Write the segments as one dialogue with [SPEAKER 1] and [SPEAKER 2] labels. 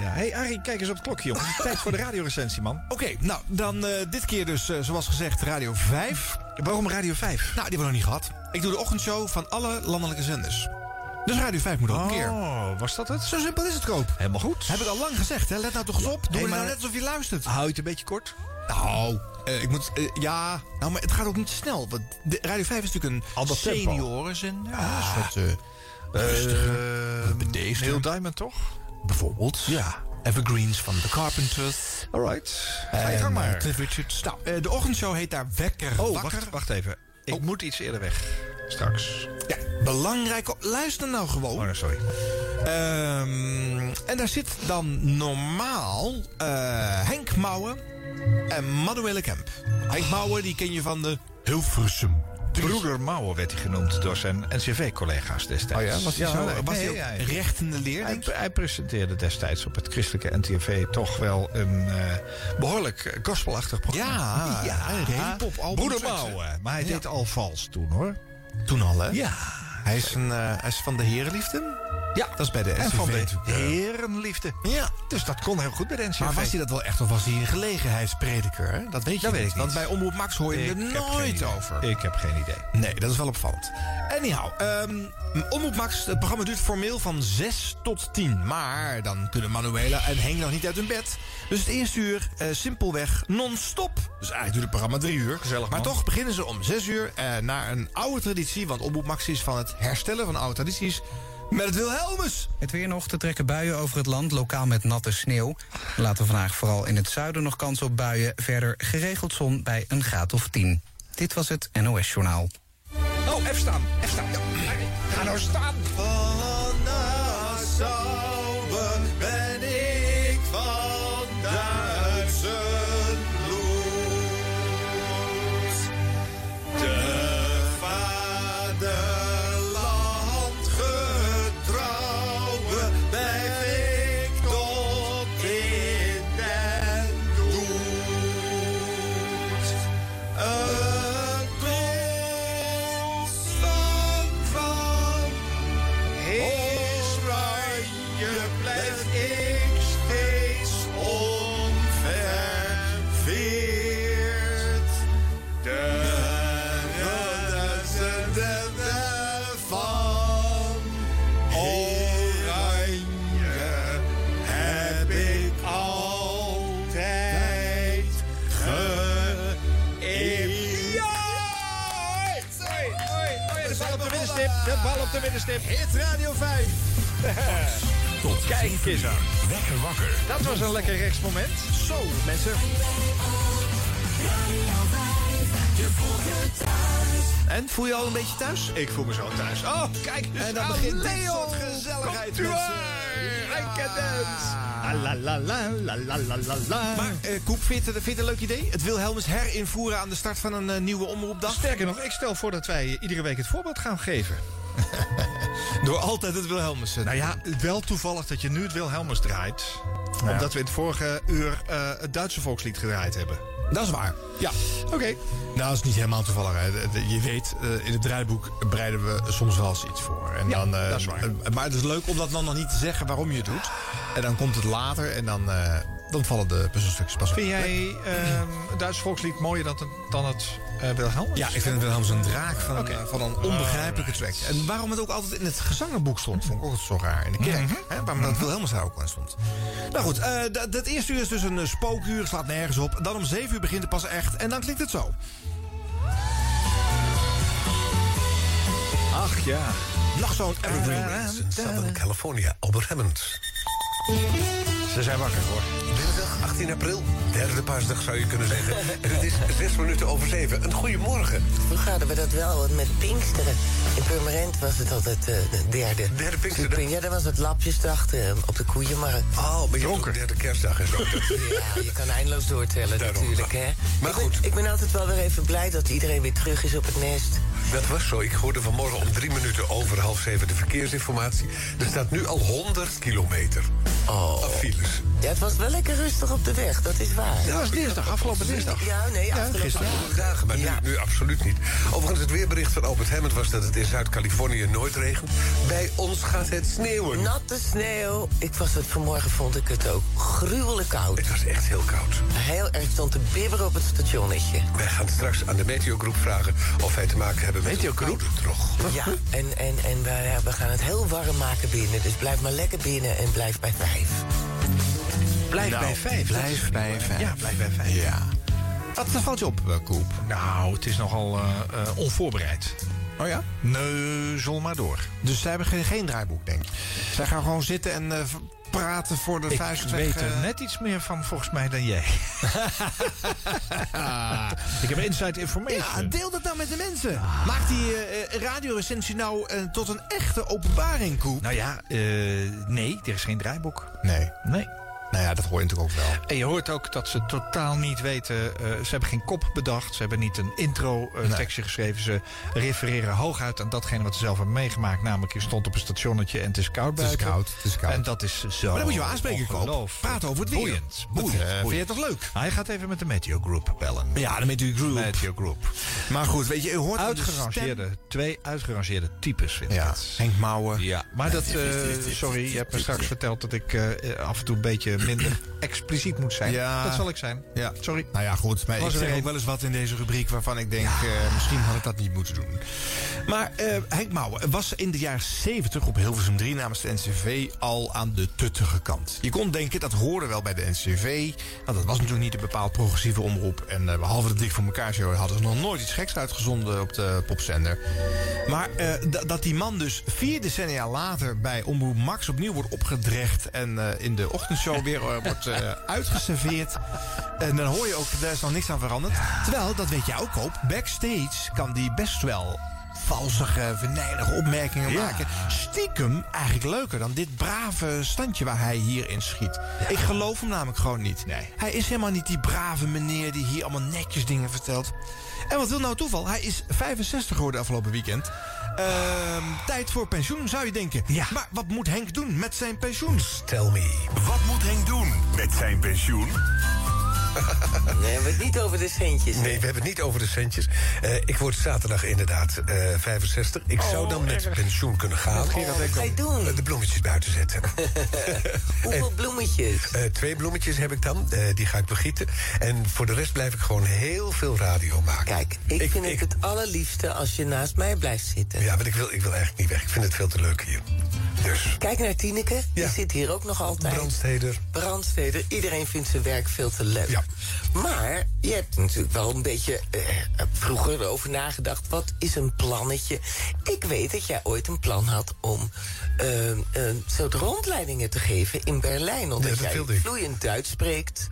[SPEAKER 1] hey, Arie, kijk eens op het klokje, jongen. Tijd voor de radiorecensie, man.
[SPEAKER 2] Oké, nou, dan eh, dit keer dus, eh, zoals gezegd, Radio 5.
[SPEAKER 1] Waarom Radio 5?
[SPEAKER 2] Nou, die hebben we nog niet gehad. Ik doe de ochtendshow van alle landelijke zenders. Dus Radio 5 moet ook een keer.
[SPEAKER 1] Oh, was dat het?
[SPEAKER 2] Zo simpel is het, Koop.
[SPEAKER 1] Helemaal goed.
[SPEAKER 2] Heb ik al lang gezegd, hè? Let nou toch eens op. Doe
[SPEAKER 1] Hey,
[SPEAKER 2] maar...
[SPEAKER 1] maar-
[SPEAKER 2] nou net alsof je luistert.
[SPEAKER 1] Hou je het een beetje kort?
[SPEAKER 2] Nou, eh, ik moet... eh, ja, nou, maar het gaat ook niet snel. Want de Radio 5 is natuurlijk een
[SPEAKER 1] Ander tempo.
[SPEAKER 2] seniorenzender. Ja, een soort... eh,
[SPEAKER 1] Rustige.
[SPEAKER 2] bedeesd.
[SPEAKER 1] Eh, Neil Diamond, toch?
[SPEAKER 2] bijvoorbeeld.
[SPEAKER 1] Ja.
[SPEAKER 2] Evergreens van The Carpenters.
[SPEAKER 1] Alright. Ga je
[SPEAKER 2] En,
[SPEAKER 1] gang
[SPEAKER 2] eh,
[SPEAKER 1] maar.
[SPEAKER 2] Cliff Richards. Nou, eh, de ochtendshow heet daar Wekker
[SPEAKER 1] Oh,
[SPEAKER 2] Wakker.
[SPEAKER 1] wacht, wacht even. Ik
[SPEAKER 2] Oh.
[SPEAKER 1] moet iets eerder weg. Straks.
[SPEAKER 2] Ja, belangrijk. op- Luister nou gewoon.
[SPEAKER 1] Oh, nee, sorry.
[SPEAKER 2] Ehm, en daar zit dan normaal eh, Henk Mouwen en Manuele Kemp. Henk Mouwen, die ken je van de Hilversum.
[SPEAKER 1] Broeder Mouwen werd hij genoemd door zijn NCV-collega's destijds. nee,
[SPEAKER 2] was hij
[SPEAKER 1] nee,
[SPEAKER 2] ook
[SPEAKER 1] ja, ja.
[SPEAKER 2] recht in de leer?
[SPEAKER 1] Hij,
[SPEAKER 2] denk ik?
[SPEAKER 1] hij presenteerde destijds op het christelijke NTV toch wel een eh, behoorlijk eh, gospelachtig programma.
[SPEAKER 2] Ja, een hiphopalbum.
[SPEAKER 1] Broeder Mouwen. Maar hij deed al vals toen hoor.
[SPEAKER 2] Toen al, hè?
[SPEAKER 1] Ja.
[SPEAKER 2] Hij is, een, eh, hij is van de Herenliefde.
[SPEAKER 1] ja.
[SPEAKER 2] Dat is bij de
[SPEAKER 1] en
[SPEAKER 2] SCV.
[SPEAKER 1] van de
[SPEAKER 2] natuurlijk, eh.
[SPEAKER 1] herenliefde.
[SPEAKER 2] Ja.
[SPEAKER 1] Dus dat kon heel goed bij de NCV.
[SPEAKER 2] Maar was hij dat wel echt of was hij een gelegenheidsprediker? Hè? Dat weet je
[SPEAKER 1] Dat weet
[SPEAKER 2] niet.
[SPEAKER 1] ik
[SPEAKER 2] Want
[SPEAKER 1] niet.
[SPEAKER 2] bij Omroep Max hoor je
[SPEAKER 1] Ik
[SPEAKER 2] er
[SPEAKER 1] heb geen
[SPEAKER 2] nooit
[SPEAKER 1] idee.
[SPEAKER 2] over.
[SPEAKER 1] Ik heb geen idee.
[SPEAKER 2] Nee, dat is wel opvallend. Anyhow, ehm Omroep Max, het programma duurt formeel van 6 tot 10. Maar dan kunnen Manuela en Henk nog niet uit hun bed. Dus het eerste uur eh, simpelweg non-stop. Dus eigenlijk duurt het programma drie uur.
[SPEAKER 1] Gezellig,
[SPEAKER 2] Maar
[SPEAKER 1] man.
[SPEAKER 2] toch beginnen ze om 6 uur eh, naar een oude traditie. Want Omroep Max is van het herstellen van oude tradities met het Wilhelmus.
[SPEAKER 3] Het weer nog te trekken buien over het land, lokaal met natte sneeuw. Later vandaag vooral in het zuiden nog kans op buien. Verder geregeld zon bij een graad of 10. Dit was het NOS Journaal.
[SPEAKER 1] Oh, even staan. Even staan. Ja. Ga nou staan.
[SPEAKER 2] Van Nassauer ben ik van Duitsen bloed. De vaderland getrouwe blijf ik tot in den dood. Een constant van Oranje blijf ik steeds onverveerd. De redende van Oranje heb ik altijd geëerd.
[SPEAKER 1] Oh De bal op de binnenstip. De bal op de binnenstip.
[SPEAKER 2] Hit Radio 5.
[SPEAKER 4] Tot
[SPEAKER 1] Kijk eens
[SPEAKER 4] 7 uur.
[SPEAKER 1] aan.
[SPEAKER 4] Lekker wakker.
[SPEAKER 1] Dat was een lekker rechtsmoment.
[SPEAKER 2] Zo, mensen. En voel je al een beetje thuis?
[SPEAKER 1] Ik voel me zo thuis. Oh, kijk dus
[SPEAKER 2] En dan
[SPEAKER 1] aan
[SPEAKER 2] begint dit
[SPEAKER 1] Leon.
[SPEAKER 2] soort gezelligheid,
[SPEAKER 1] Komt u
[SPEAKER 2] mensen.
[SPEAKER 1] maar. I can
[SPEAKER 2] Ja.
[SPEAKER 1] dance. La la la la la la la la.
[SPEAKER 2] Maar eh Koep, vind je, het- vind je het een leuk idee? Het Wilhelmus herinvoeren aan de start van een eh, nieuwe omroepdag?
[SPEAKER 1] Sterker nog, ik stel voor dat wij iedere week het voorbeeld gaan geven.
[SPEAKER 2] Door altijd het Wilhelmus.
[SPEAKER 1] Nou ja, wel toevallig dat je nu het Wilhelmus draait. Omdat we in het vorige uur eh, het Duitse volkslied gedraaid hebben.
[SPEAKER 2] dat is waar. Ja.
[SPEAKER 1] Oké.
[SPEAKER 5] Nou, dat is niet helemaal toevallig. Hè. De- de- Je weet, eh, in het draaiboek bereiden we soms wel eens iets voor. En dan, eh,
[SPEAKER 1] dat is waar.
[SPEAKER 5] eh, Maar het is leuk om dat dan nog niet te zeggen waarom je het doet. En dan komt het later en dan, eh, dan vallen de puzzelstukjes pas op.
[SPEAKER 1] Vind jij ehm, het Duitse volkslied mooier dan, het- dan het eh, Wilhelmus?
[SPEAKER 2] Ja, ik vind het Wilhelmus een draak van,
[SPEAKER 1] Oké.
[SPEAKER 2] eh, van een onbegrijpelijke track. En waarom het ook altijd in het gezangenboek stond, vond ik ook altijd zo raar. In de kerk,
[SPEAKER 1] Mhm.
[SPEAKER 2] hè, waarom dat Wilhelmus daar ook aan stond. Nou goed, eh, dat dat eerste uur is dus een eh, spookuur, slaat nergens op. Dan om zeven uur begint het pas echt en dan klinkt het zo.
[SPEAKER 1] Ach ja.
[SPEAKER 2] Nachtzoon Evergreen.
[SPEAKER 4] Remix in Southern California, Albert Hammond.
[SPEAKER 1] Ze zijn wakker hoor.
[SPEAKER 4] Dinsdag 18 april, derde paasdag zou je kunnen zeggen. En het is 6 minuten over 7. Een goede morgen.
[SPEAKER 6] Vroeger hadden we dat wel want met Pinksteren. In Purmerend was het altijd eh, de derde.
[SPEAKER 4] Derde Pinksteren.
[SPEAKER 6] Ja, dan was het lapjesdag eh, op de koeienmarkt.
[SPEAKER 4] Oh, ben je ook derde kerstdag en zo.
[SPEAKER 6] Ja, je kan eindeloos doortellen
[SPEAKER 4] Daarom.
[SPEAKER 6] natuurlijk, hè.
[SPEAKER 4] Maar
[SPEAKER 6] ik ben,
[SPEAKER 4] goed.
[SPEAKER 6] Ik ben altijd wel weer even blij dat iedereen weer terug is op het nest.
[SPEAKER 4] Dat was zo. Ik hoorde vanmorgen om drie minuten over half zeven de verkeersinformatie. Er staat nu al 100 kilometer.
[SPEAKER 6] Oh.
[SPEAKER 4] Files.
[SPEAKER 6] Ja, het was wel lekker rustig op de weg, dat is waar.
[SPEAKER 1] Dat was dinsdag, afgelopen dinsdag.
[SPEAKER 6] Ja, nee, afgelopen
[SPEAKER 1] gisteren.
[SPEAKER 6] maandag.
[SPEAKER 4] dagen, maar nu,
[SPEAKER 6] Ja.
[SPEAKER 4] nu absoluut niet. Overigens, het weerbericht van Albert Hammond was dat het in Zuid-Californië nooit regent. Bij ons gaat het sneeuwen.
[SPEAKER 6] Natte sneeuw. Ik was het vanmorgen, vond ik het ook gruwelijk koud.
[SPEAKER 4] Het was echt heel koud.
[SPEAKER 6] Heel erg stond te bibberen op het stationnetje.
[SPEAKER 4] Wij gaan straks aan de meteogroep vragen of wij te maken hebben met meteogroep. droog.
[SPEAKER 6] Ja, en, en, en we, we gaan het heel warm maken binnen. Dus blijf maar lekker binnen en blijf bij vijf.
[SPEAKER 1] Nou, Blijf bij vijf.
[SPEAKER 2] Blijf bij vijf.
[SPEAKER 1] Ja, blijf bij vijf.
[SPEAKER 2] Ja. Wat eh, valt je op, eh, Koep?
[SPEAKER 1] Nou, het is nogal eh, eh, onvoorbereid.
[SPEAKER 2] Oh ja?
[SPEAKER 1] Neuzel maar door.
[SPEAKER 2] Dus zij hebben geen, geen draaiboek, denk ik. Zij gaan gewoon zitten en eh, v- praten voor de
[SPEAKER 1] Ik
[SPEAKER 2] vuist weg,
[SPEAKER 1] weet er
[SPEAKER 2] eh,
[SPEAKER 1] net iets meer van volgens mij dan jij. ik heb inside
[SPEAKER 2] Ja,
[SPEAKER 1] information.
[SPEAKER 2] deel dat nou met de mensen. Maak die eh, eh, radiorecensie nou eh, tot een echte openbaring, Koep.
[SPEAKER 1] nou ja, eh, nee, er is geen draaiboek.
[SPEAKER 2] Nee.
[SPEAKER 1] Nee.
[SPEAKER 2] Nou ja, dat hoor je natuurlijk ook wel.
[SPEAKER 1] En je hoort ook dat ze totaal niet weten. eh, ze hebben geen kop bedacht. Ze hebben niet een intro-tekstje geschreven. Ze refereren hooguit aan datgene wat ze zelf hebben meegemaakt. Namelijk, je stond op een stationnetje en het is koud buiten.
[SPEAKER 2] koud, het is koud. Oh,
[SPEAKER 1] En dat is zo.
[SPEAKER 2] Maar dan moet je wel aanspreken, Koop.
[SPEAKER 1] ongelooflijk
[SPEAKER 2] Praat over het weer.
[SPEAKER 1] Boeiend.
[SPEAKER 2] Dat,
[SPEAKER 1] boeiend,
[SPEAKER 2] eh,
[SPEAKER 1] boeiend.
[SPEAKER 2] Vind je toch leuk?
[SPEAKER 1] Hij gaat even met de Meteo Group bellen.
[SPEAKER 2] Ja, dan met u groep.
[SPEAKER 1] Meteo Group.
[SPEAKER 2] Maar goed, weet je, je hoort aan de
[SPEAKER 1] Uitgerangeerde, twee uitgerangeerde types vind
[SPEAKER 2] stem-
[SPEAKER 1] ik
[SPEAKER 2] Ja,
[SPEAKER 1] het.
[SPEAKER 2] Henk Mouwen.
[SPEAKER 1] Ja, maar dat, eh, sorry, je hebt me straks verteld dat ik eh, af en toe een beetje minder expliciet moet zijn.
[SPEAKER 2] Ja.
[SPEAKER 1] Dat zal ik zijn.
[SPEAKER 2] Ja.
[SPEAKER 1] Sorry.
[SPEAKER 2] Nou ja, goed. Maar
[SPEAKER 1] Was
[SPEAKER 2] ik
[SPEAKER 1] er
[SPEAKER 2] zeg
[SPEAKER 1] een.
[SPEAKER 2] ook wel eens wat in deze rubriek waarvan ik denk... eh, misschien had ik dat niet moeten doen. Maar eh, Henk Mouwen was in de jaren 70 op Hilversum 3 namens de NCV al aan de tuttige kant. Je kon denken, dat hoorde wel bij de NCV. Nou, dat was natuurlijk niet een bepaald progressieve omroep. En eh, behalve de Dik voor elkaar show hadden ze nog nooit iets geks uitgezonden op de popzender. Maar eh, da- dat die man dus vier decennia later bij Omroep Max opnieuw wordt opgedrecht... en eh, in de ochtendshow weer eh, wordt eh, uitgeserveerd. En dan hoor je ook, daar is nog niks aan veranderd. Terwijl, dat weet jij ook, Koop, backstage kan die best wel valsige, venijnige opmerkingen maken. Stiekem eigenlijk leuker dan dit brave standje waar hij hier in schiet. Ik geloof hem namelijk gewoon niet. Hij is helemaal niet die brave meneer die hier allemaal netjes dingen vertelt. En wat wil nou toeval? Hij is 65 geworden afgelopen weekend. Ehm, tijd voor pensioen, zou je denken. Maar wat moet Henk doen met zijn pensioen?
[SPEAKER 4] Tell me.
[SPEAKER 7] Wat moet Henk doen met zijn pensioen?
[SPEAKER 6] Nee, we hebben het niet over de centjes. hè?
[SPEAKER 4] Nee, we hebben het niet over de centjes. Eh, ik word zaterdag inderdaad eh, 65. Ik zou dan met pensioen kunnen gaan.
[SPEAKER 6] Oh, wat ga je doen?
[SPEAKER 4] Eh, De bloemetjes buiten zetten.
[SPEAKER 6] Hoeveel bloemetjes?
[SPEAKER 4] Eh, twee bloemetjes heb ik dan. Eh, die ga ik begieten. En voor de rest blijf ik gewoon heel veel radio maken.
[SPEAKER 6] Kijk, ik, vind het het allerliefste als je naast mij blijft zitten.
[SPEAKER 4] Ja, want ik wil, ik wil eigenlijk niet weg. Ik vind het veel te leuk hier. Dus,
[SPEAKER 6] Kijk naar Tineke,
[SPEAKER 4] Ja.
[SPEAKER 6] die zit hier ook nog altijd.
[SPEAKER 4] brandsteder.
[SPEAKER 6] Brandsteder, iedereen vindt zijn werk veel te leuk.
[SPEAKER 4] Ja.
[SPEAKER 6] Maar je hebt natuurlijk wel een beetje eh, vroeger over nagedacht. Wat is een plannetje? Ik weet dat jij ooit een plan had om eh, een soort rondleidingen te geven in Berlijn.
[SPEAKER 4] Ja,
[SPEAKER 6] Omdat
[SPEAKER 4] dat wilde
[SPEAKER 6] jij
[SPEAKER 4] ik. Mhm.
[SPEAKER 6] vloeiend Duits spreekt.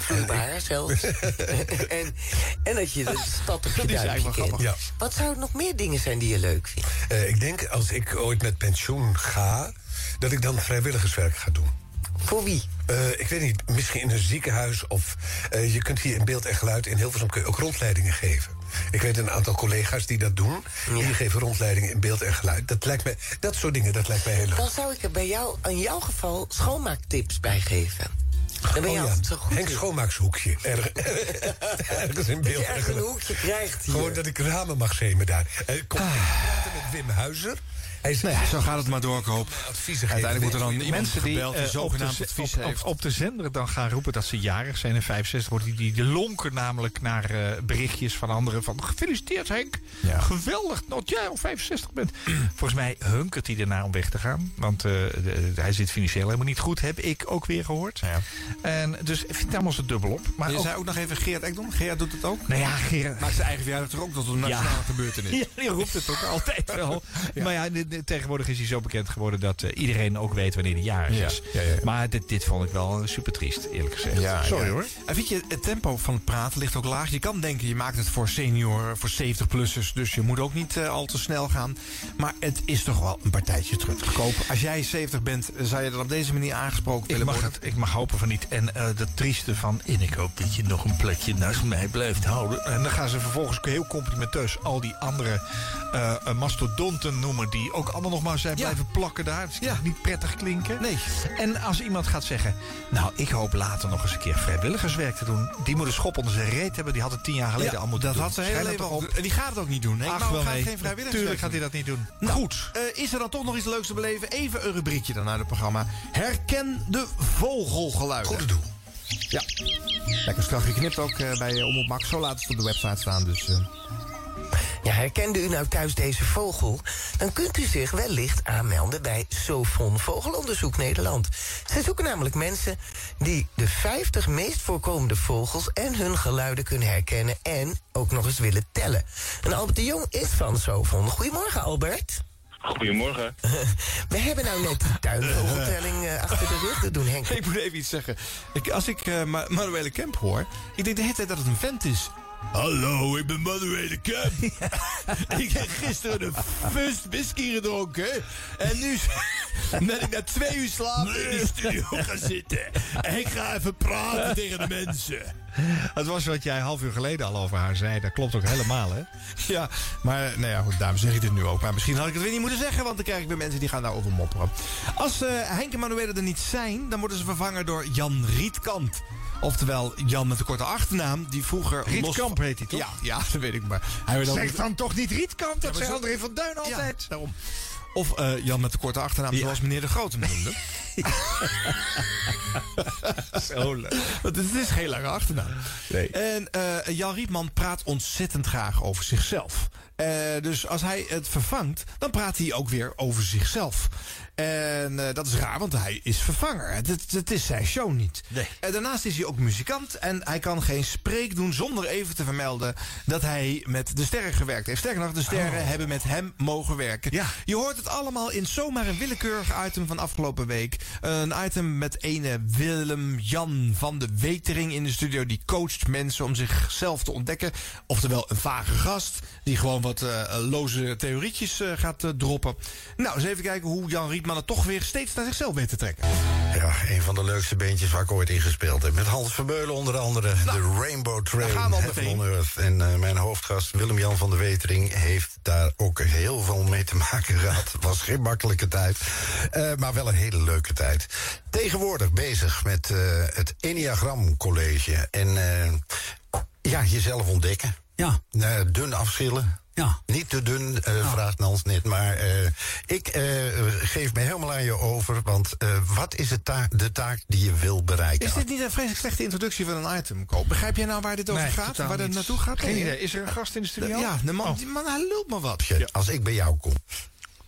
[SPEAKER 6] Vloeibaar zelfs. en, en dat je de stad op je duimpje kent.
[SPEAKER 4] Ja.
[SPEAKER 6] Wat zouden nog meer dingen zijn die je leuk vindt?
[SPEAKER 4] Eh, ik denk als ik ooit met pensioen ga, dat ik dan vrijwilligerswerk ga doen.
[SPEAKER 6] Voor wie?
[SPEAKER 4] Eh, ik weet niet, misschien in een ziekenhuis of eh, je kunt hier in beeld en geluid in Hilversum kun je ook rondleidingen geven. Ik weet een aantal collega's die dat doen. Die geven rondleidingen in beeld en geluid. Dat lijkt me, dat soort dingen, dat lijkt mij heel leuk.
[SPEAKER 6] Dan zou ik er bij jou, in jouw geval, schoonmaaktips bij geven. Dan ben je
[SPEAKER 4] Oh ja,
[SPEAKER 6] altijd zo goed.
[SPEAKER 4] Henk
[SPEAKER 6] in.
[SPEAKER 4] Schoonmaakshoekje. Erg, ergens in
[SPEAKER 6] Dat je
[SPEAKER 4] beeld. en
[SPEAKER 6] echt een
[SPEAKER 4] geluid.
[SPEAKER 6] hoekje krijgt hier.
[SPEAKER 4] Gewoon dat ik ramen mag zemen daar. Eh, Kom,
[SPEAKER 6] Ah.
[SPEAKER 4] ik praten met Wim Huizer. Hij is
[SPEAKER 2] Nee, zo gaat het maar door, Koop.
[SPEAKER 4] adviezen geven.
[SPEAKER 2] Uiteindelijk moet er dan iemand
[SPEAKER 1] Mensen die,
[SPEAKER 2] gebeld die
[SPEAKER 1] eh, op,
[SPEAKER 2] zogenaamd
[SPEAKER 1] de,
[SPEAKER 2] advies
[SPEAKER 1] op,
[SPEAKER 2] heeft.
[SPEAKER 1] op, op de zender dan gaan roepen dat ze jarig zijn en 65 worden. Die, die, die lonken namelijk naar eh, berichtjes van anderen van... Gefeliciteerd Henk,
[SPEAKER 2] Ja.
[SPEAKER 1] geweldig dat jij al 65 bent. Volgens mij hunkert hij erna om weg te gaan. Want eh, de- hij zit financieel helemaal niet goed, heb ik ook weer gehoord.
[SPEAKER 2] Ja.
[SPEAKER 1] En, dus ik vind het allemaal zo dubbel op. Maar
[SPEAKER 2] Je
[SPEAKER 1] ook,
[SPEAKER 2] zei ook nog even Gerard Ekdom. Gerard doet het ook.
[SPEAKER 1] nou ja, Gerard,
[SPEAKER 2] Maakt zijn eigen verjaardag toch ook tot een nationale gebeurtenis.
[SPEAKER 1] Ja, die roept het ook altijd wel. Maar ja, dit- dit- tegenwoordig is hij zo bekend geworden dat eh, iedereen ook weet wanneer hij jarig
[SPEAKER 2] Ja,
[SPEAKER 1] is.
[SPEAKER 2] ja, ja, ja.
[SPEAKER 1] Maar dit, dit vond ik wel eh, super triest, eerlijk gezegd. Sorry hoor.
[SPEAKER 2] En vind je, het tempo van het praten ligt ook laag. Je kan denken, je maakt het voor senioren, voor 70-plussers. Dus je moet ook niet eh, al te snel gaan. Maar het is toch wel een partijtje terug te kopen. Als jij 70 bent, eh, zou je dan op deze manier aangesproken
[SPEAKER 1] Ik
[SPEAKER 2] willen
[SPEAKER 1] mag,
[SPEAKER 2] worden?
[SPEAKER 1] het, ik mag hopen van niet. niet. En eh, dat trieste van, en ik hoop dat je nog een plekje naast mij blijft houden. En dan gaan ze vervolgens heel complimenteus al die andere eh, eh, mastodonten noemen... die ook allemaal nog maar zijn
[SPEAKER 2] Ja.
[SPEAKER 1] blijven plakken daar. Het is
[SPEAKER 2] Ja.
[SPEAKER 1] niet prettig klinken.
[SPEAKER 2] Nee.
[SPEAKER 1] En als iemand gaat zeggen, nou, ik hoop later nog eens een keer vrijwilligerswerk te doen... die moet een schop onder zijn reet hebben, die had het tien jaar geleden al moeten
[SPEAKER 2] dat
[SPEAKER 1] doen.
[SPEAKER 2] had ze heel
[SPEAKER 1] Schrijf
[SPEAKER 2] leven
[SPEAKER 1] dat
[SPEAKER 2] al.
[SPEAKER 1] erop.
[SPEAKER 2] En die gaat het ook niet doen. Henk
[SPEAKER 1] Ach,
[SPEAKER 2] Mouw
[SPEAKER 1] wel
[SPEAKER 2] gaat
[SPEAKER 1] nee.
[SPEAKER 2] geen vrijwilligerswerk
[SPEAKER 1] Tuurlijk gaat hij
[SPEAKER 2] doen.
[SPEAKER 1] dat niet doen. Nou,
[SPEAKER 2] Goed, eh, is er dan toch nog iets leuks te beleven? Even een rubriekje dan naar het programma. Herken de vogelgeluiden.
[SPEAKER 4] Goede doel.
[SPEAKER 2] Ja. Lekker strak geknipt ook eh, bij eh, Omroep Max. Zo laat is het op de website staan. Dus, eh.
[SPEAKER 6] Ja, herkende u nou thuis deze vogel? Dan kunt u zich wellicht aanmelden bij Sofon Vogelonderzoek Nederland. Ze zoeken namelijk mensen die de 50 meest voorkomende vogels en hun geluiden kunnen herkennen en ook nog eens willen tellen. En Albert de Jong is van Sofon. Goedemorgen, Albert.
[SPEAKER 8] Goedemorgen.
[SPEAKER 6] We hebben nou net die tuinvogeltelling eh, achter de rug. Dat doen Henk.
[SPEAKER 2] Ik moet even iets zeggen. Ik, als ik eh, Ma- Manuele Kemp hoor, ik denk de hele tijd dat het een vent is. Hallo, ik ben Manuele Kemp. ik heb gisteren een fust whisky gedronken. En nu is- ben ik na twee uur slaap in de studio gaan zitten. En ik ga even praten tegen de mensen.
[SPEAKER 1] Het was wat jij een half uur geleden al over haar zei. Dat klopt ook helemaal, hè?
[SPEAKER 2] Ja, maar eh, nou ja, goed, daarom zeg ik dit nu ook. Maar misschien had ik het weer niet moeten zeggen, want dan krijg ik weer mensen die gaan daarover mopperen. Als eh, Henk en Manuele er niet zijn, dan worden ze vervangen door Jan Rietkamp. Oftewel Jan met een korte achternaam, die vroeger...
[SPEAKER 1] Rietkamp heet hij, toch?
[SPEAKER 2] Ja, ja, dat weet ik maar. Hij werd
[SPEAKER 1] Zeg dan toch niet Rietkamp, dat
[SPEAKER 2] maar
[SPEAKER 1] zei
[SPEAKER 2] zo-
[SPEAKER 1] André van Duin
[SPEAKER 2] Ja,
[SPEAKER 1] altijd.
[SPEAKER 2] daarom. Of eh, Jan met de korte achternaam, zoals meneer De Grote hem noemde. Want het is geen lange achternaam. En eh, Jan Rietman praat ontzettend graag over zichzelf. Eh, dus als hij het vervangt, dan praat hij ook weer over zichzelf. En eh, dat is raar, want hij is vervanger. Het, het- het is zijn show niet.
[SPEAKER 1] Nee.
[SPEAKER 2] En daarnaast is hij ook muzikant. En hij kan geen spreek doen zonder even te vermelden dat hij met de sterren gewerkt heeft. Sterker nog, de sterren hebben met hem mogen werken.
[SPEAKER 1] Ja.
[SPEAKER 2] Je hoort het allemaal in zomaar een willekeurig item van afgelopen week. Een item met ene Willem-Jan van de Wetering in de studio. Die coacht mensen om zichzelf te ontdekken. Oftewel een vage gast die gewoon wat eh, loze theorietjes eh, gaat eh, droppen. Nou, eens even kijken hoe Jan Rietman het toch weer steeds naar zichzelf weet te trekken.
[SPEAKER 4] Ja, een van de leukste beentjes waar ik ooit in gespeeld heb. Met Hans Vermeulen onder andere. de Rainbow Train.
[SPEAKER 2] Nou, gaan we al
[SPEAKER 4] Heaven
[SPEAKER 2] meteen.
[SPEAKER 4] on Earth. En eh, mijn hoofdgast Willem-Jan van der Wetering heeft daar ook heel veel mee te maken gehad. Was geen makkelijke tijd, eh, maar wel een hele leuke tijd. Tegenwoordig bezig met eh, het Enneagram College. En eh, ja, jezelf ontdekken.
[SPEAKER 9] Ja,
[SPEAKER 4] Eh, dun afschillen.
[SPEAKER 9] ja.
[SPEAKER 4] Niet te dun, eh, vraagt Nans net. Maar eh, ik eh, geef me helemaal aan je over. Want eh, wat is de taak, de taak die je wil bereiken?
[SPEAKER 2] Is dit niet een vreselijk slechte introductie van een item? Koop? Begrijp jij nou waar dit over gaat? Waar dat naartoe gaat?
[SPEAKER 1] Geen
[SPEAKER 2] Nee,
[SPEAKER 1] idee. Is er een gast in de
[SPEAKER 2] hè?
[SPEAKER 1] studio? Oh.
[SPEAKER 2] Ja, de man, die man, hij lult me wat.
[SPEAKER 4] Als je- Als ik bij jou kom.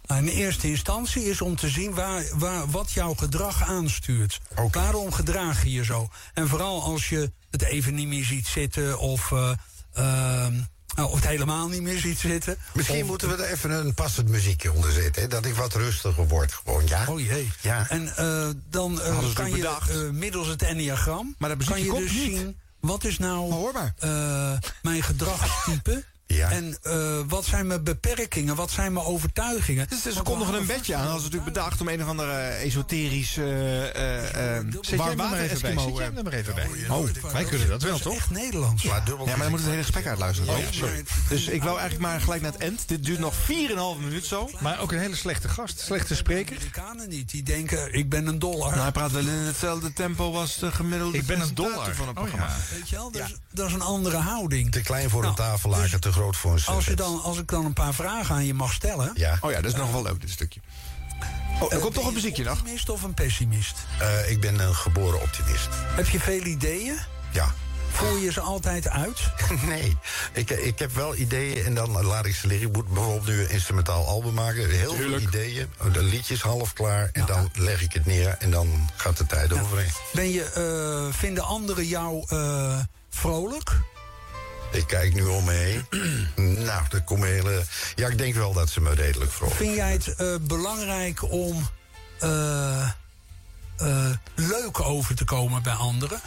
[SPEAKER 9] In eerste instantie is om te zien waar, waar, wat jouw gedrag aanstuurt.
[SPEAKER 4] Oké.
[SPEAKER 9] Waarom gedraag je je zo? En vooral als je het even niet meer ziet zitten of, eh, ehm, nou, of het helemaal niet meer ziet zitten.
[SPEAKER 4] Misschien
[SPEAKER 9] Of-
[SPEAKER 4] moeten we er even een passend muziekje onder zetten. Hè? Dat ik wat rustiger word gewoon, ja?
[SPEAKER 9] Oh jee.
[SPEAKER 4] Ja.
[SPEAKER 9] En eh, dan eh,
[SPEAKER 2] ze
[SPEAKER 9] kan
[SPEAKER 2] natuurlijk
[SPEAKER 9] je
[SPEAKER 2] bedacht.
[SPEAKER 9] eh, middels het enneagram...
[SPEAKER 2] Maar dat
[SPEAKER 9] kan
[SPEAKER 2] muziekje
[SPEAKER 9] je
[SPEAKER 2] komt
[SPEAKER 9] dus
[SPEAKER 2] niet.
[SPEAKER 9] zien wat is nou
[SPEAKER 2] Maar hoor maar.
[SPEAKER 9] eh, mijn gedragstype...
[SPEAKER 4] Ja.
[SPEAKER 9] En eh, wat zijn mijn beperkingen? Wat zijn mijn overtuigingen?
[SPEAKER 2] Dus ze
[SPEAKER 9] Want we
[SPEAKER 2] kondigen een
[SPEAKER 9] hadden
[SPEAKER 2] bedje aan. Dat is natuurlijk bedacht om een of andere eh, esoterisch eh eh, eh,
[SPEAKER 9] Zet jij
[SPEAKER 1] Zet jij
[SPEAKER 2] warm
[SPEAKER 1] hem er
[SPEAKER 2] water
[SPEAKER 1] maar even bij.
[SPEAKER 2] Eskimo,
[SPEAKER 1] Zet jij
[SPEAKER 2] eh,
[SPEAKER 1] hem er maar even bij.
[SPEAKER 9] Oh,
[SPEAKER 1] wij kunnen dat wel, toch?
[SPEAKER 9] Echt Nederlands.
[SPEAKER 4] Maar dubbel
[SPEAKER 2] Ja, maar dan moet het hele gesprek uitluisteren.
[SPEAKER 9] Ja,
[SPEAKER 2] toch?
[SPEAKER 9] sorry.
[SPEAKER 2] Dus ik wou eigenlijk maar gelijk naar het eind. Dit duurt nog 4,5 minuut zo.
[SPEAKER 1] Maar ook een hele slechte gast. Slechte spreker.
[SPEAKER 9] De Amerikanen niet. Die denken, ik ben een dollar.
[SPEAKER 2] Nou, hij praat wel in hetzelfde tempo als de gemiddelde
[SPEAKER 1] Ik ben een
[SPEAKER 2] presentator
[SPEAKER 1] dollar.
[SPEAKER 2] van een
[SPEAKER 1] Oh,
[SPEAKER 2] programma.
[SPEAKER 1] ja.
[SPEAKER 9] Weet je wel? Dat, is, dat is een andere houding.
[SPEAKER 4] te klein voor een
[SPEAKER 9] Nou,
[SPEAKER 4] tafellaken,
[SPEAKER 9] dus
[SPEAKER 4] te groot voor een
[SPEAKER 9] Als, je
[SPEAKER 4] servet.
[SPEAKER 9] dan, als ik dan een paar vragen aan je mag stellen...
[SPEAKER 4] Ja,
[SPEAKER 2] Oh ja, dat is nog wel leuk, dit stukje. Oh, er komt toch een muziekje nog.
[SPEAKER 9] Een optimist of een pessimist?
[SPEAKER 4] eh, ik ben een geboren optimist.
[SPEAKER 9] Heb je veel ideeën?
[SPEAKER 4] Ja.
[SPEAKER 9] Voer je ze altijd uit?
[SPEAKER 4] Nee, ik, ik heb wel ideeën en dan laat ik ze liggen. Ik moet bijvoorbeeld nu een instrumentaal album maken. Heel veel ideeën, de liedjes half klaar. En dan leg ik het neer en dan gaat de tijd overheen.
[SPEAKER 9] Ben je, eh, vinden anderen jou eh, vrolijk?
[SPEAKER 4] Ik kijk nu om me heen. nou, er komen hele... Ja, ik denk wel dat ze me redelijk vrolijk.
[SPEAKER 9] Vind jij het eh, belangrijk om eh, eh, leuk over te komen bij anderen?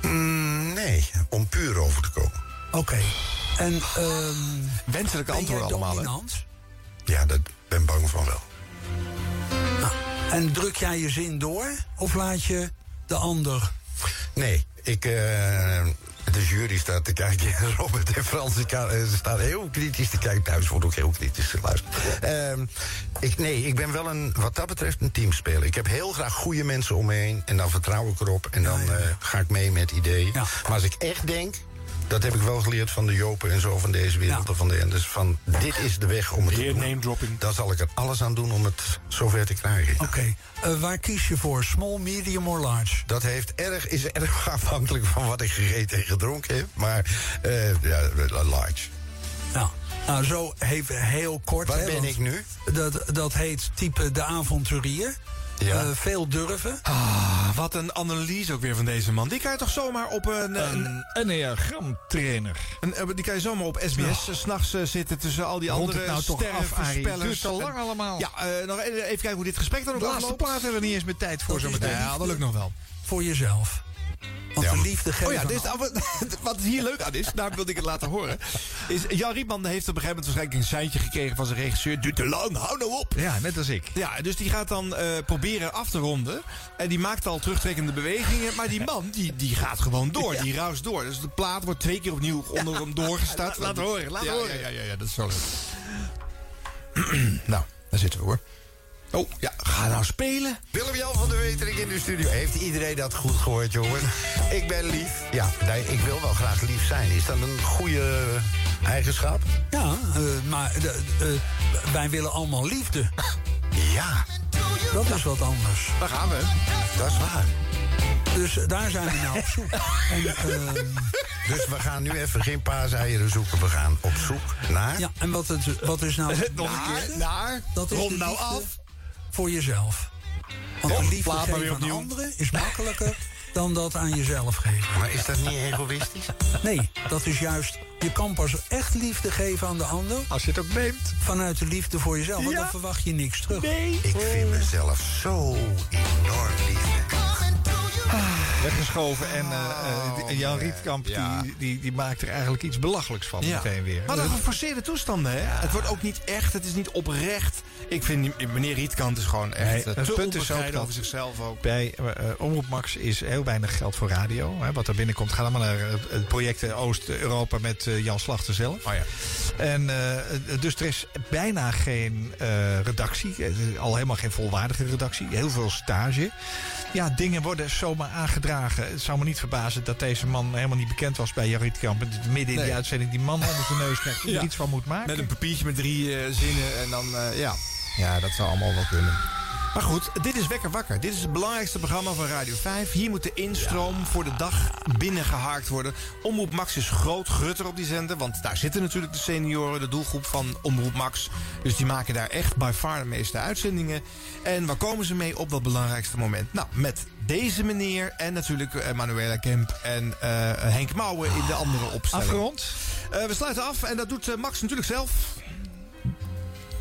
[SPEAKER 4] Mm, nee, om puur over te komen.
[SPEAKER 9] Oké. En ehm
[SPEAKER 2] Wenselijke
[SPEAKER 9] ben jij
[SPEAKER 2] antwoorden allemaal. hè?
[SPEAKER 9] dominant?
[SPEAKER 4] Ja, dat ben bang van wel.
[SPEAKER 9] En druk jij je zin door of laat je de ander
[SPEAKER 4] Nee, ik, eh, de jury staat te kijken. Robert en Frans die ka- eh, ze staan heel kritisch te kijken. Thuis wordt ook heel kritisch geluisterd. Ehm, ik, nee, ik ben wel een, wat dat betreft een teamspeler. Ik heb heel graag goede mensen om me heen. En dan vertrouw ik erop. En dan eh, ga ik mee met ideeën.
[SPEAKER 9] Ja.
[SPEAKER 4] Maar als ik echt denk... Dat heb ik wel geleerd van de Jopen en zo van deze wereld.
[SPEAKER 9] Ja.
[SPEAKER 4] en Van de, dus van, dit is de weg om het
[SPEAKER 2] Weer
[SPEAKER 4] te doen.
[SPEAKER 2] name dropping.
[SPEAKER 4] Daar zal ik er alles aan doen om het zover te krijgen.
[SPEAKER 9] Oké, eh, waar kies je voor? Small, medium or large?
[SPEAKER 4] Dat heeft erg, is erg afhankelijk van wat ik gegeten en gedronken heb. Maar eh, ja, large.
[SPEAKER 9] Nou, nou zo even heel kort.
[SPEAKER 4] Wat
[SPEAKER 9] hè,
[SPEAKER 4] ben
[SPEAKER 9] want
[SPEAKER 4] ik nu?
[SPEAKER 9] Dat, dat heet type de avonturier.
[SPEAKER 4] Ja.
[SPEAKER 9] Eh, veel durven.
[SPEAKER 2] Ah, Wat een analyse ook weer van deze man. Die kan je toch zomaar op een... eh, een,
[SPEAKER 1] Een enneagramtrainer.
[SPEAKER 2] een- eh, die kan je zomaar op SBS eh, 's s'nachts zitten tussen al die
[SPEAKER 1] Rond het
[SPEAKER 2] andere
[SPEAKER 1] nou toch af, Arie?
[SPEAKER 2] sterrenvoorspellers.
[SPEAKER 1] Duurt zo lang
[SPEAKER 2] En-
[SPEAKER 1] allemaal.
[SPEAKER 2] Ja, eh, nog even even kijken hoe dit gesprek dan ook
[SPEAKER 1] De laatste
[SPEAKER 2] afloopt.
[SPEAKER 1] plaat hebben we niet eens meer tijd voor
[SPEAKER 9] Dat
[SPEAKER 1] zo
[SPEAKER 9] is
[SPEAKER 1] meteen.
[SPEAKER 9] de
[SPEAKER 2] Ja, dat lukt nog wel.
[SPEAKER 9] Voor jezelf. Want de liefde geeft
[SPEAKER 2] Oh ja,
[SPEAKER 9] aan
[SPEAKER 2] dit is, wat hier leuk aan is, daar wilde ik het laten horen. Is, Jan Riepman heeft op een gegeven moment waarschijnlijk een seintje gekregen van zijn regisseur. Duurt te lang, hou nou op!
[SPEAKER 1] Ja, net als ik.
[SPEAKER 2] Ja, dus die gaat dan eh, proberen af te ronden. En die maakt al terugtrekkende bewegingen. Maar die man, die, die gaat gewoon door. Die ruist door. Dus de plaat wordt twee keer opnieuw onder hem doorgestart. Laat, horen, laat horen. Ja, ja, ja, dat is zo leuk. nou, daar zitten we hoor. Oh, ja, ga nou spelen.
[SPEAKER 4] Willem-Jan van der Wetering in de studio. Heeft iedereen dat goed gehoord, jongens? Ik ben lief. Ja, nee, ik wil wel graag lief zijn. Is dat een goede eh, eigenschap?
[SPEAKER 9] Ja, eh, maar de- eh, wij willen allemaal liefde.
[SPEAKER 4] Ja,
[SPEAKER 9] Dat is wat anders.
[SPEAKER 2] Daar gaan we.
[SPEAKER 4] dat is waar.
[SPEAKER 9] Dus daar zijn we nou op zoek. En, ehm,
[SPEAKER 4] Dus we gaan nu even geen paaseieren zoeken. We gaan op zoek naar...
[SPEAKER 9] ja, en wat, het, wat is nou...
[SPEAKER 2] Nog een keer. Naar,
[SPEAKER 9] Dat is
[SPEAKER 2] rond
[SPEAKER 9] de
[SPEAKER 2] nou
[SPEAKER 9] liefde
[SPEAKER 2] af.
[SPEAKER 9] Voor jezelf. Want de liefde
[SPEAKER 2] plaat maar weer
[SPEAKER 9] geven aan
[SPEAKER 2] opnieuw.
[SPEAKER 9] anderen is makkelijker dan dat aan jezelf geven.
[SPEAKER 4] Maar is dat niet egoïstisch?
[SPEAKER 9] Nee, dat is juist... Je kan pas echt liefde geven aan de ander...
[SPEAKER 1] Als je het ook neemt.
[SPEAKER 9] vanuit de liefde voor jezelf. Want dan verwacht je niks terug.
[SPEAKER 4] Ik vind mezelf zo enorm lief.
[SPEAKER 1] Weggeschoven. En eh, eh, die- Jan Rietkamp die, die, die maakt er eigenlijk iets belachelijks van meteen weer.
[SPEAKER 2] Maar dan geforceerde toestanden, hè? Het wordt ook niet echt, het is niet oprecht. Ik vind die- meneer Rietkant is gewoon echt
[SPEAKER 1] Nee,
[SPEAKER 2] eh,
[SPEAKER 1] het
[SPEAKER 2] te
[SPEAKER 1] punt is ook
[SPEAKER 2] onbescheiden
[SPEAKER 1] dat-
[SPEAKER 2] over zichzelf ook.
[SPEAKER 1] bij eh, eh, Omroep Max is heel weinig geld voor radio. Hè, wat er binnenkomt, gaat allemaal naar eh, het project eh, Oost-Europa met eh, Jan Slachter zelf.
[SPEAKER 2] Oh ja.
[SPEAKER 1] En, eh, dus er is bijna geen eh, redactie. Eh, Al helemaal geen volwaardige redactie. Heel veel stage. Ja, dingen worden zomaar aangedragen. Het zou me niet verbazen dat deze man helemaal niet bekend was bij Jarit Kamp. En Midden in die uitzending die man onder zijn neus krijgt. Die
[SPEAKER 2] Ja.
[SPEAKER 1] er iets van moet maken.
[SPEAKER 2] Met een papiertje met drie eh, zinnen en dan, eh, ja. Ja, dat zou allemaal wel kunnen. Maar goed, dit is Wekker Wakker. Dit is het belangrijkste programma van Radio 5. Hier moet de instroom voor de dag binnengehaakt worden. Omroep Max is groot grutter op die zender. Want daar zitten natuurlijk de senioren, de doelgroep van Omroep Max. Dus die maken daar echt by far de meeste uitzendingen. En waar komen ze mee op dat belangrijkste moment? Nou, met deze meneer en natuurlijk eh, Manuela Kemp en eh, Henk Mouwen in de andere opstelling.
[SPEAKER 1] Afgerond.
[SPEAKER 2] Eh, we sluiten af en dat doet eh, Max natuurlijk zelf.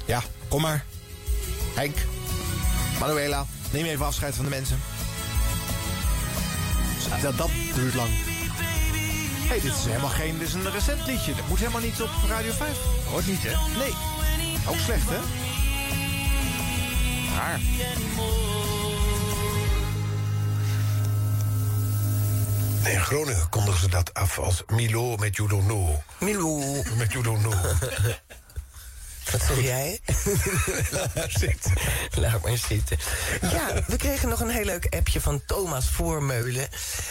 [SPEAKER 2] Ja, kom maar. Henk, Manuela, neem even afscheid van de mensen. Dat, dat duurt lang. hey, dit is helemaal geen dit is een recent liedje. Dat moet helemaal niet op Radio 5. Hoort niet, hè? Nee. Ook slecht, hè? Maar...
[SPEAKER 4] Nee, in Groningen kondigen ze dat af als Milo met You Don't Know.
[SPEAKER 6] Milou,
[SPEAKER 4] Met You Don't Know.
[SPEAKER 6] wat zeg jij?
[SPEAKER 4] Laat maar zitten.
[SPEAKER 6] Laat maar zitten. Ja, we kregen nog een heel leuk appje van Thomas Voormeulen.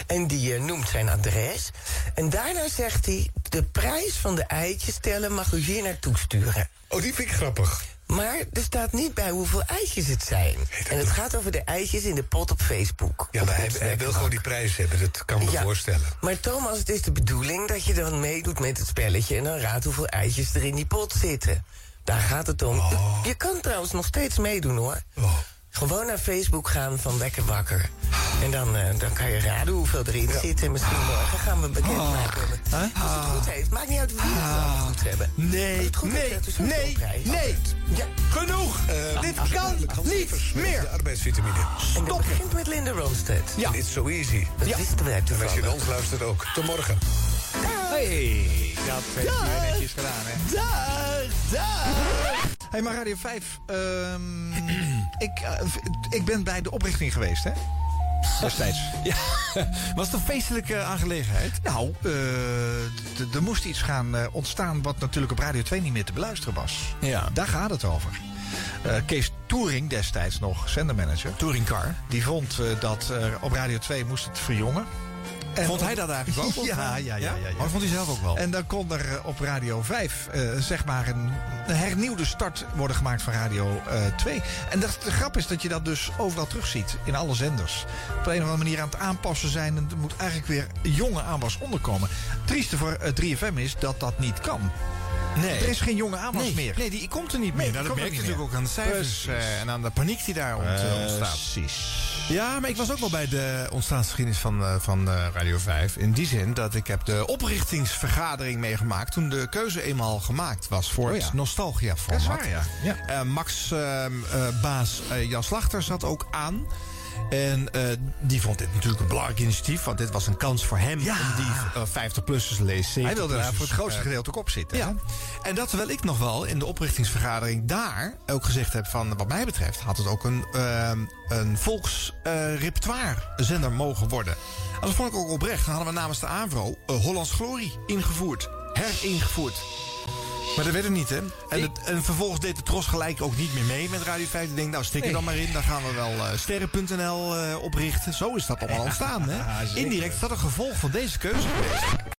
[SPEAKER 6] En die eh, noemt zijn adres. En daarna zegt hij... de prijs van de eitjes tellen mag u hier naartoe sturen.
[SPEAKER 4] Oh, die vind ik grappig.
[SPEAKER 6] Maar er staat niet bij hoeveel eitjes het zijn. En het gaat over de eitjes in de pot op Facebook.
[SPEAKER 4] Ja,
[SPEAKER 6] Op
[SPEAKER 4] maar hij,
[SPEAKER 6] ons
[SPEAKER 4] hij wil
[SPEAKER 6] netwerk.
[SPEAKER 4] gewoon die prijs hebben, dat kan me
[SPEAKER 6] Ja.
[SPEAKER 4] voorstellen.
[SPEAKER 6] Maar Thomas, het is de bedoeling dat je dan meedoet met het spelletje... en dan raadt hoeveel eitjes er in die pot zitten. Daar gaat het om.
[SPEAKER 4] Oh.
[SPEAKER 6] Je kan trouwens nog steeds meedoen, hoor. Gewoon naar Facebook gaan van Lekker Wakker. En dan, eh, dan kan je raden hoeveel erin zit. En misschien morgen gaan we
[SPEAKER 4] Oh.
[SPEAKER 6] bekendmaken. Dus Als
[SPEAKER 4] Ah.
[SPEAKER 6] het goed heeft. Maakt niet uit wie het allemaal goed hebben. Als
[SPEAKER 2] Nee,
[SPEAKER 6] het goed heeft,
[SPEAKER 2] nee,
[SPEAKER 6] krijgt u sowieso
[SPEAKER 2] nee,
[SPEAKER 6] een prijs.
[SPEAKER 2] nee.
[SPEAKER 6] Ja.
[SPEAKER 2] Genoeg. Dit kan niet meer.
[SPEAKER 4] De arbeidsvitamine.
[SPEAKER 6] En dat begint met Linda Ronstedt.
[SPEAKER 2] Ja.
[SPEAKER 4] It's so easy.
[SPEAKER 6] Dat wisten wij
[SPEAKER 4] En als je
[SPEAKER 6] toevallig.
[SPEAKER 4] naar ons luistert ook. Tot morgen.
[SPEAKER 1] Hey, dat heeft u netjes gedaan, hè? Hey, maar Radio 5, ehm, ik, eh, v- ik ben bij de oprichting geweest, hè? destijds.
[SPEAKER 2] Ja, was het een feestelijke aangelegenheid?
[SPEAKER 1] Nou, eh, d- d- er moest iets gaan eh, ontstaan wat natuurlijk op Radio 2 niet meer te beluisteren was.
[SPEAKER 2] Ja.
[SPEAKER 1] Daar gaat het over. Eh, Kees Touring destijds nog, zendermanager,
[SPEAKER 2] Touringcar.
[SPEAKER 1] die vond eh, dat eh, op Radio 2 moest het verjongen. En
[SPEAKER 2] Vond
[SPEAKER 1] op-
[SPEAKER 2] hij dat eigenlijk ook? of
[SPEAKER 1] Ja, ja,
[SPEAKER 2] niet?
[SPEAKER 1] ja, ja, ja.
[SPEAKER 2] Maar vond hij zelf ook wel?
[SPEAKER 1] En dan kon er eh, op Radio 5 eh, zeg maar een hernieuwde start worden gemaakt van Radio eh, 2. En dat, de grap is dat je dat dus overal terugziet in alle zenders. Op een of andere manier aan het aanpassen zijn. En er moet eigenlijk weer jonge aanwas onderkomen. Het trieste voor eh, 3FM is dat dat niet kan.
[SPEAKER 2] nee.
[SPEAKER 1] Er is geen jonge aanwas
[SPEAKER 2] nee,
[SPEAKER 1] meer.
[SPEAKER 2] nee, die komt er niet
[SPEAKER 1] Nee,
[SPEAKER 2] meer. nou,
[SPEAKER 1] die
[SPEAKER 2] dat
[SPEAKER 1] komt
[SPEAKER 2] merk
[SPEAKER 1] er niet
[SPEAKER 2] je natuurlijk ook aan de cijfers
[SPEAKER 1] Precies.
[SPEAKER 2] eh, en aan de paniek die daar ont- eh, ontstaat.
[SPEAKER 1] Precies.
[SPEAKER 2] Ja, maar ik was ook wel bij de ontstaansgeschiedenis van, eh, van eh, Radio 5. In die zin dat ik heb de oprichtingsvergadering meegemaakt... toen de keuze eenmaal gemaakt was voor
[SPEAKER 1] Oh ja.
[SPEAKER 2] het nostalgia-format.
[SPEAKER 1] Dat is waar, ja. Ja.
[SPEAKER 2] Eh, Max ehm, eh, baas eh, Jan Slachter zat ook aan. En eh, die vond dit natuurlijk een belangrijk initiatief... want dit was een kans voor hem
[SPEAKER 1] Ja.
[SPEAKER 2] om die eh, 50-plussers lezen.
[SPEAKER 1] Hij wilde daar voor het grootste gedeelte ook op zitten. hè?
[SPEAKER 2] Ja, en dat terwijl ik nog wel in de oprichtingsvergadering daar ook gezegd heb van... wat mij betreft had het ook een, ehm een volksrepertoire-zender mogen worden. En dat vond ik ook oprecht. Dan hadden we namens de AVRO eh, Hollands Glorie ingevoerd. Heringevoerd. Maar dat werd het niet, hè? En, het- en vervolgens deed de Tros gelijk ook niet meer mee met Radio 5. Ik denk, nou, stik er dan maar in. Dan gaan we wel eh, sterren.nl eh, oprichten. Zo is dat allemaal ontstaan, hè? Indirect is dat een gevolg van deze keuze geweest.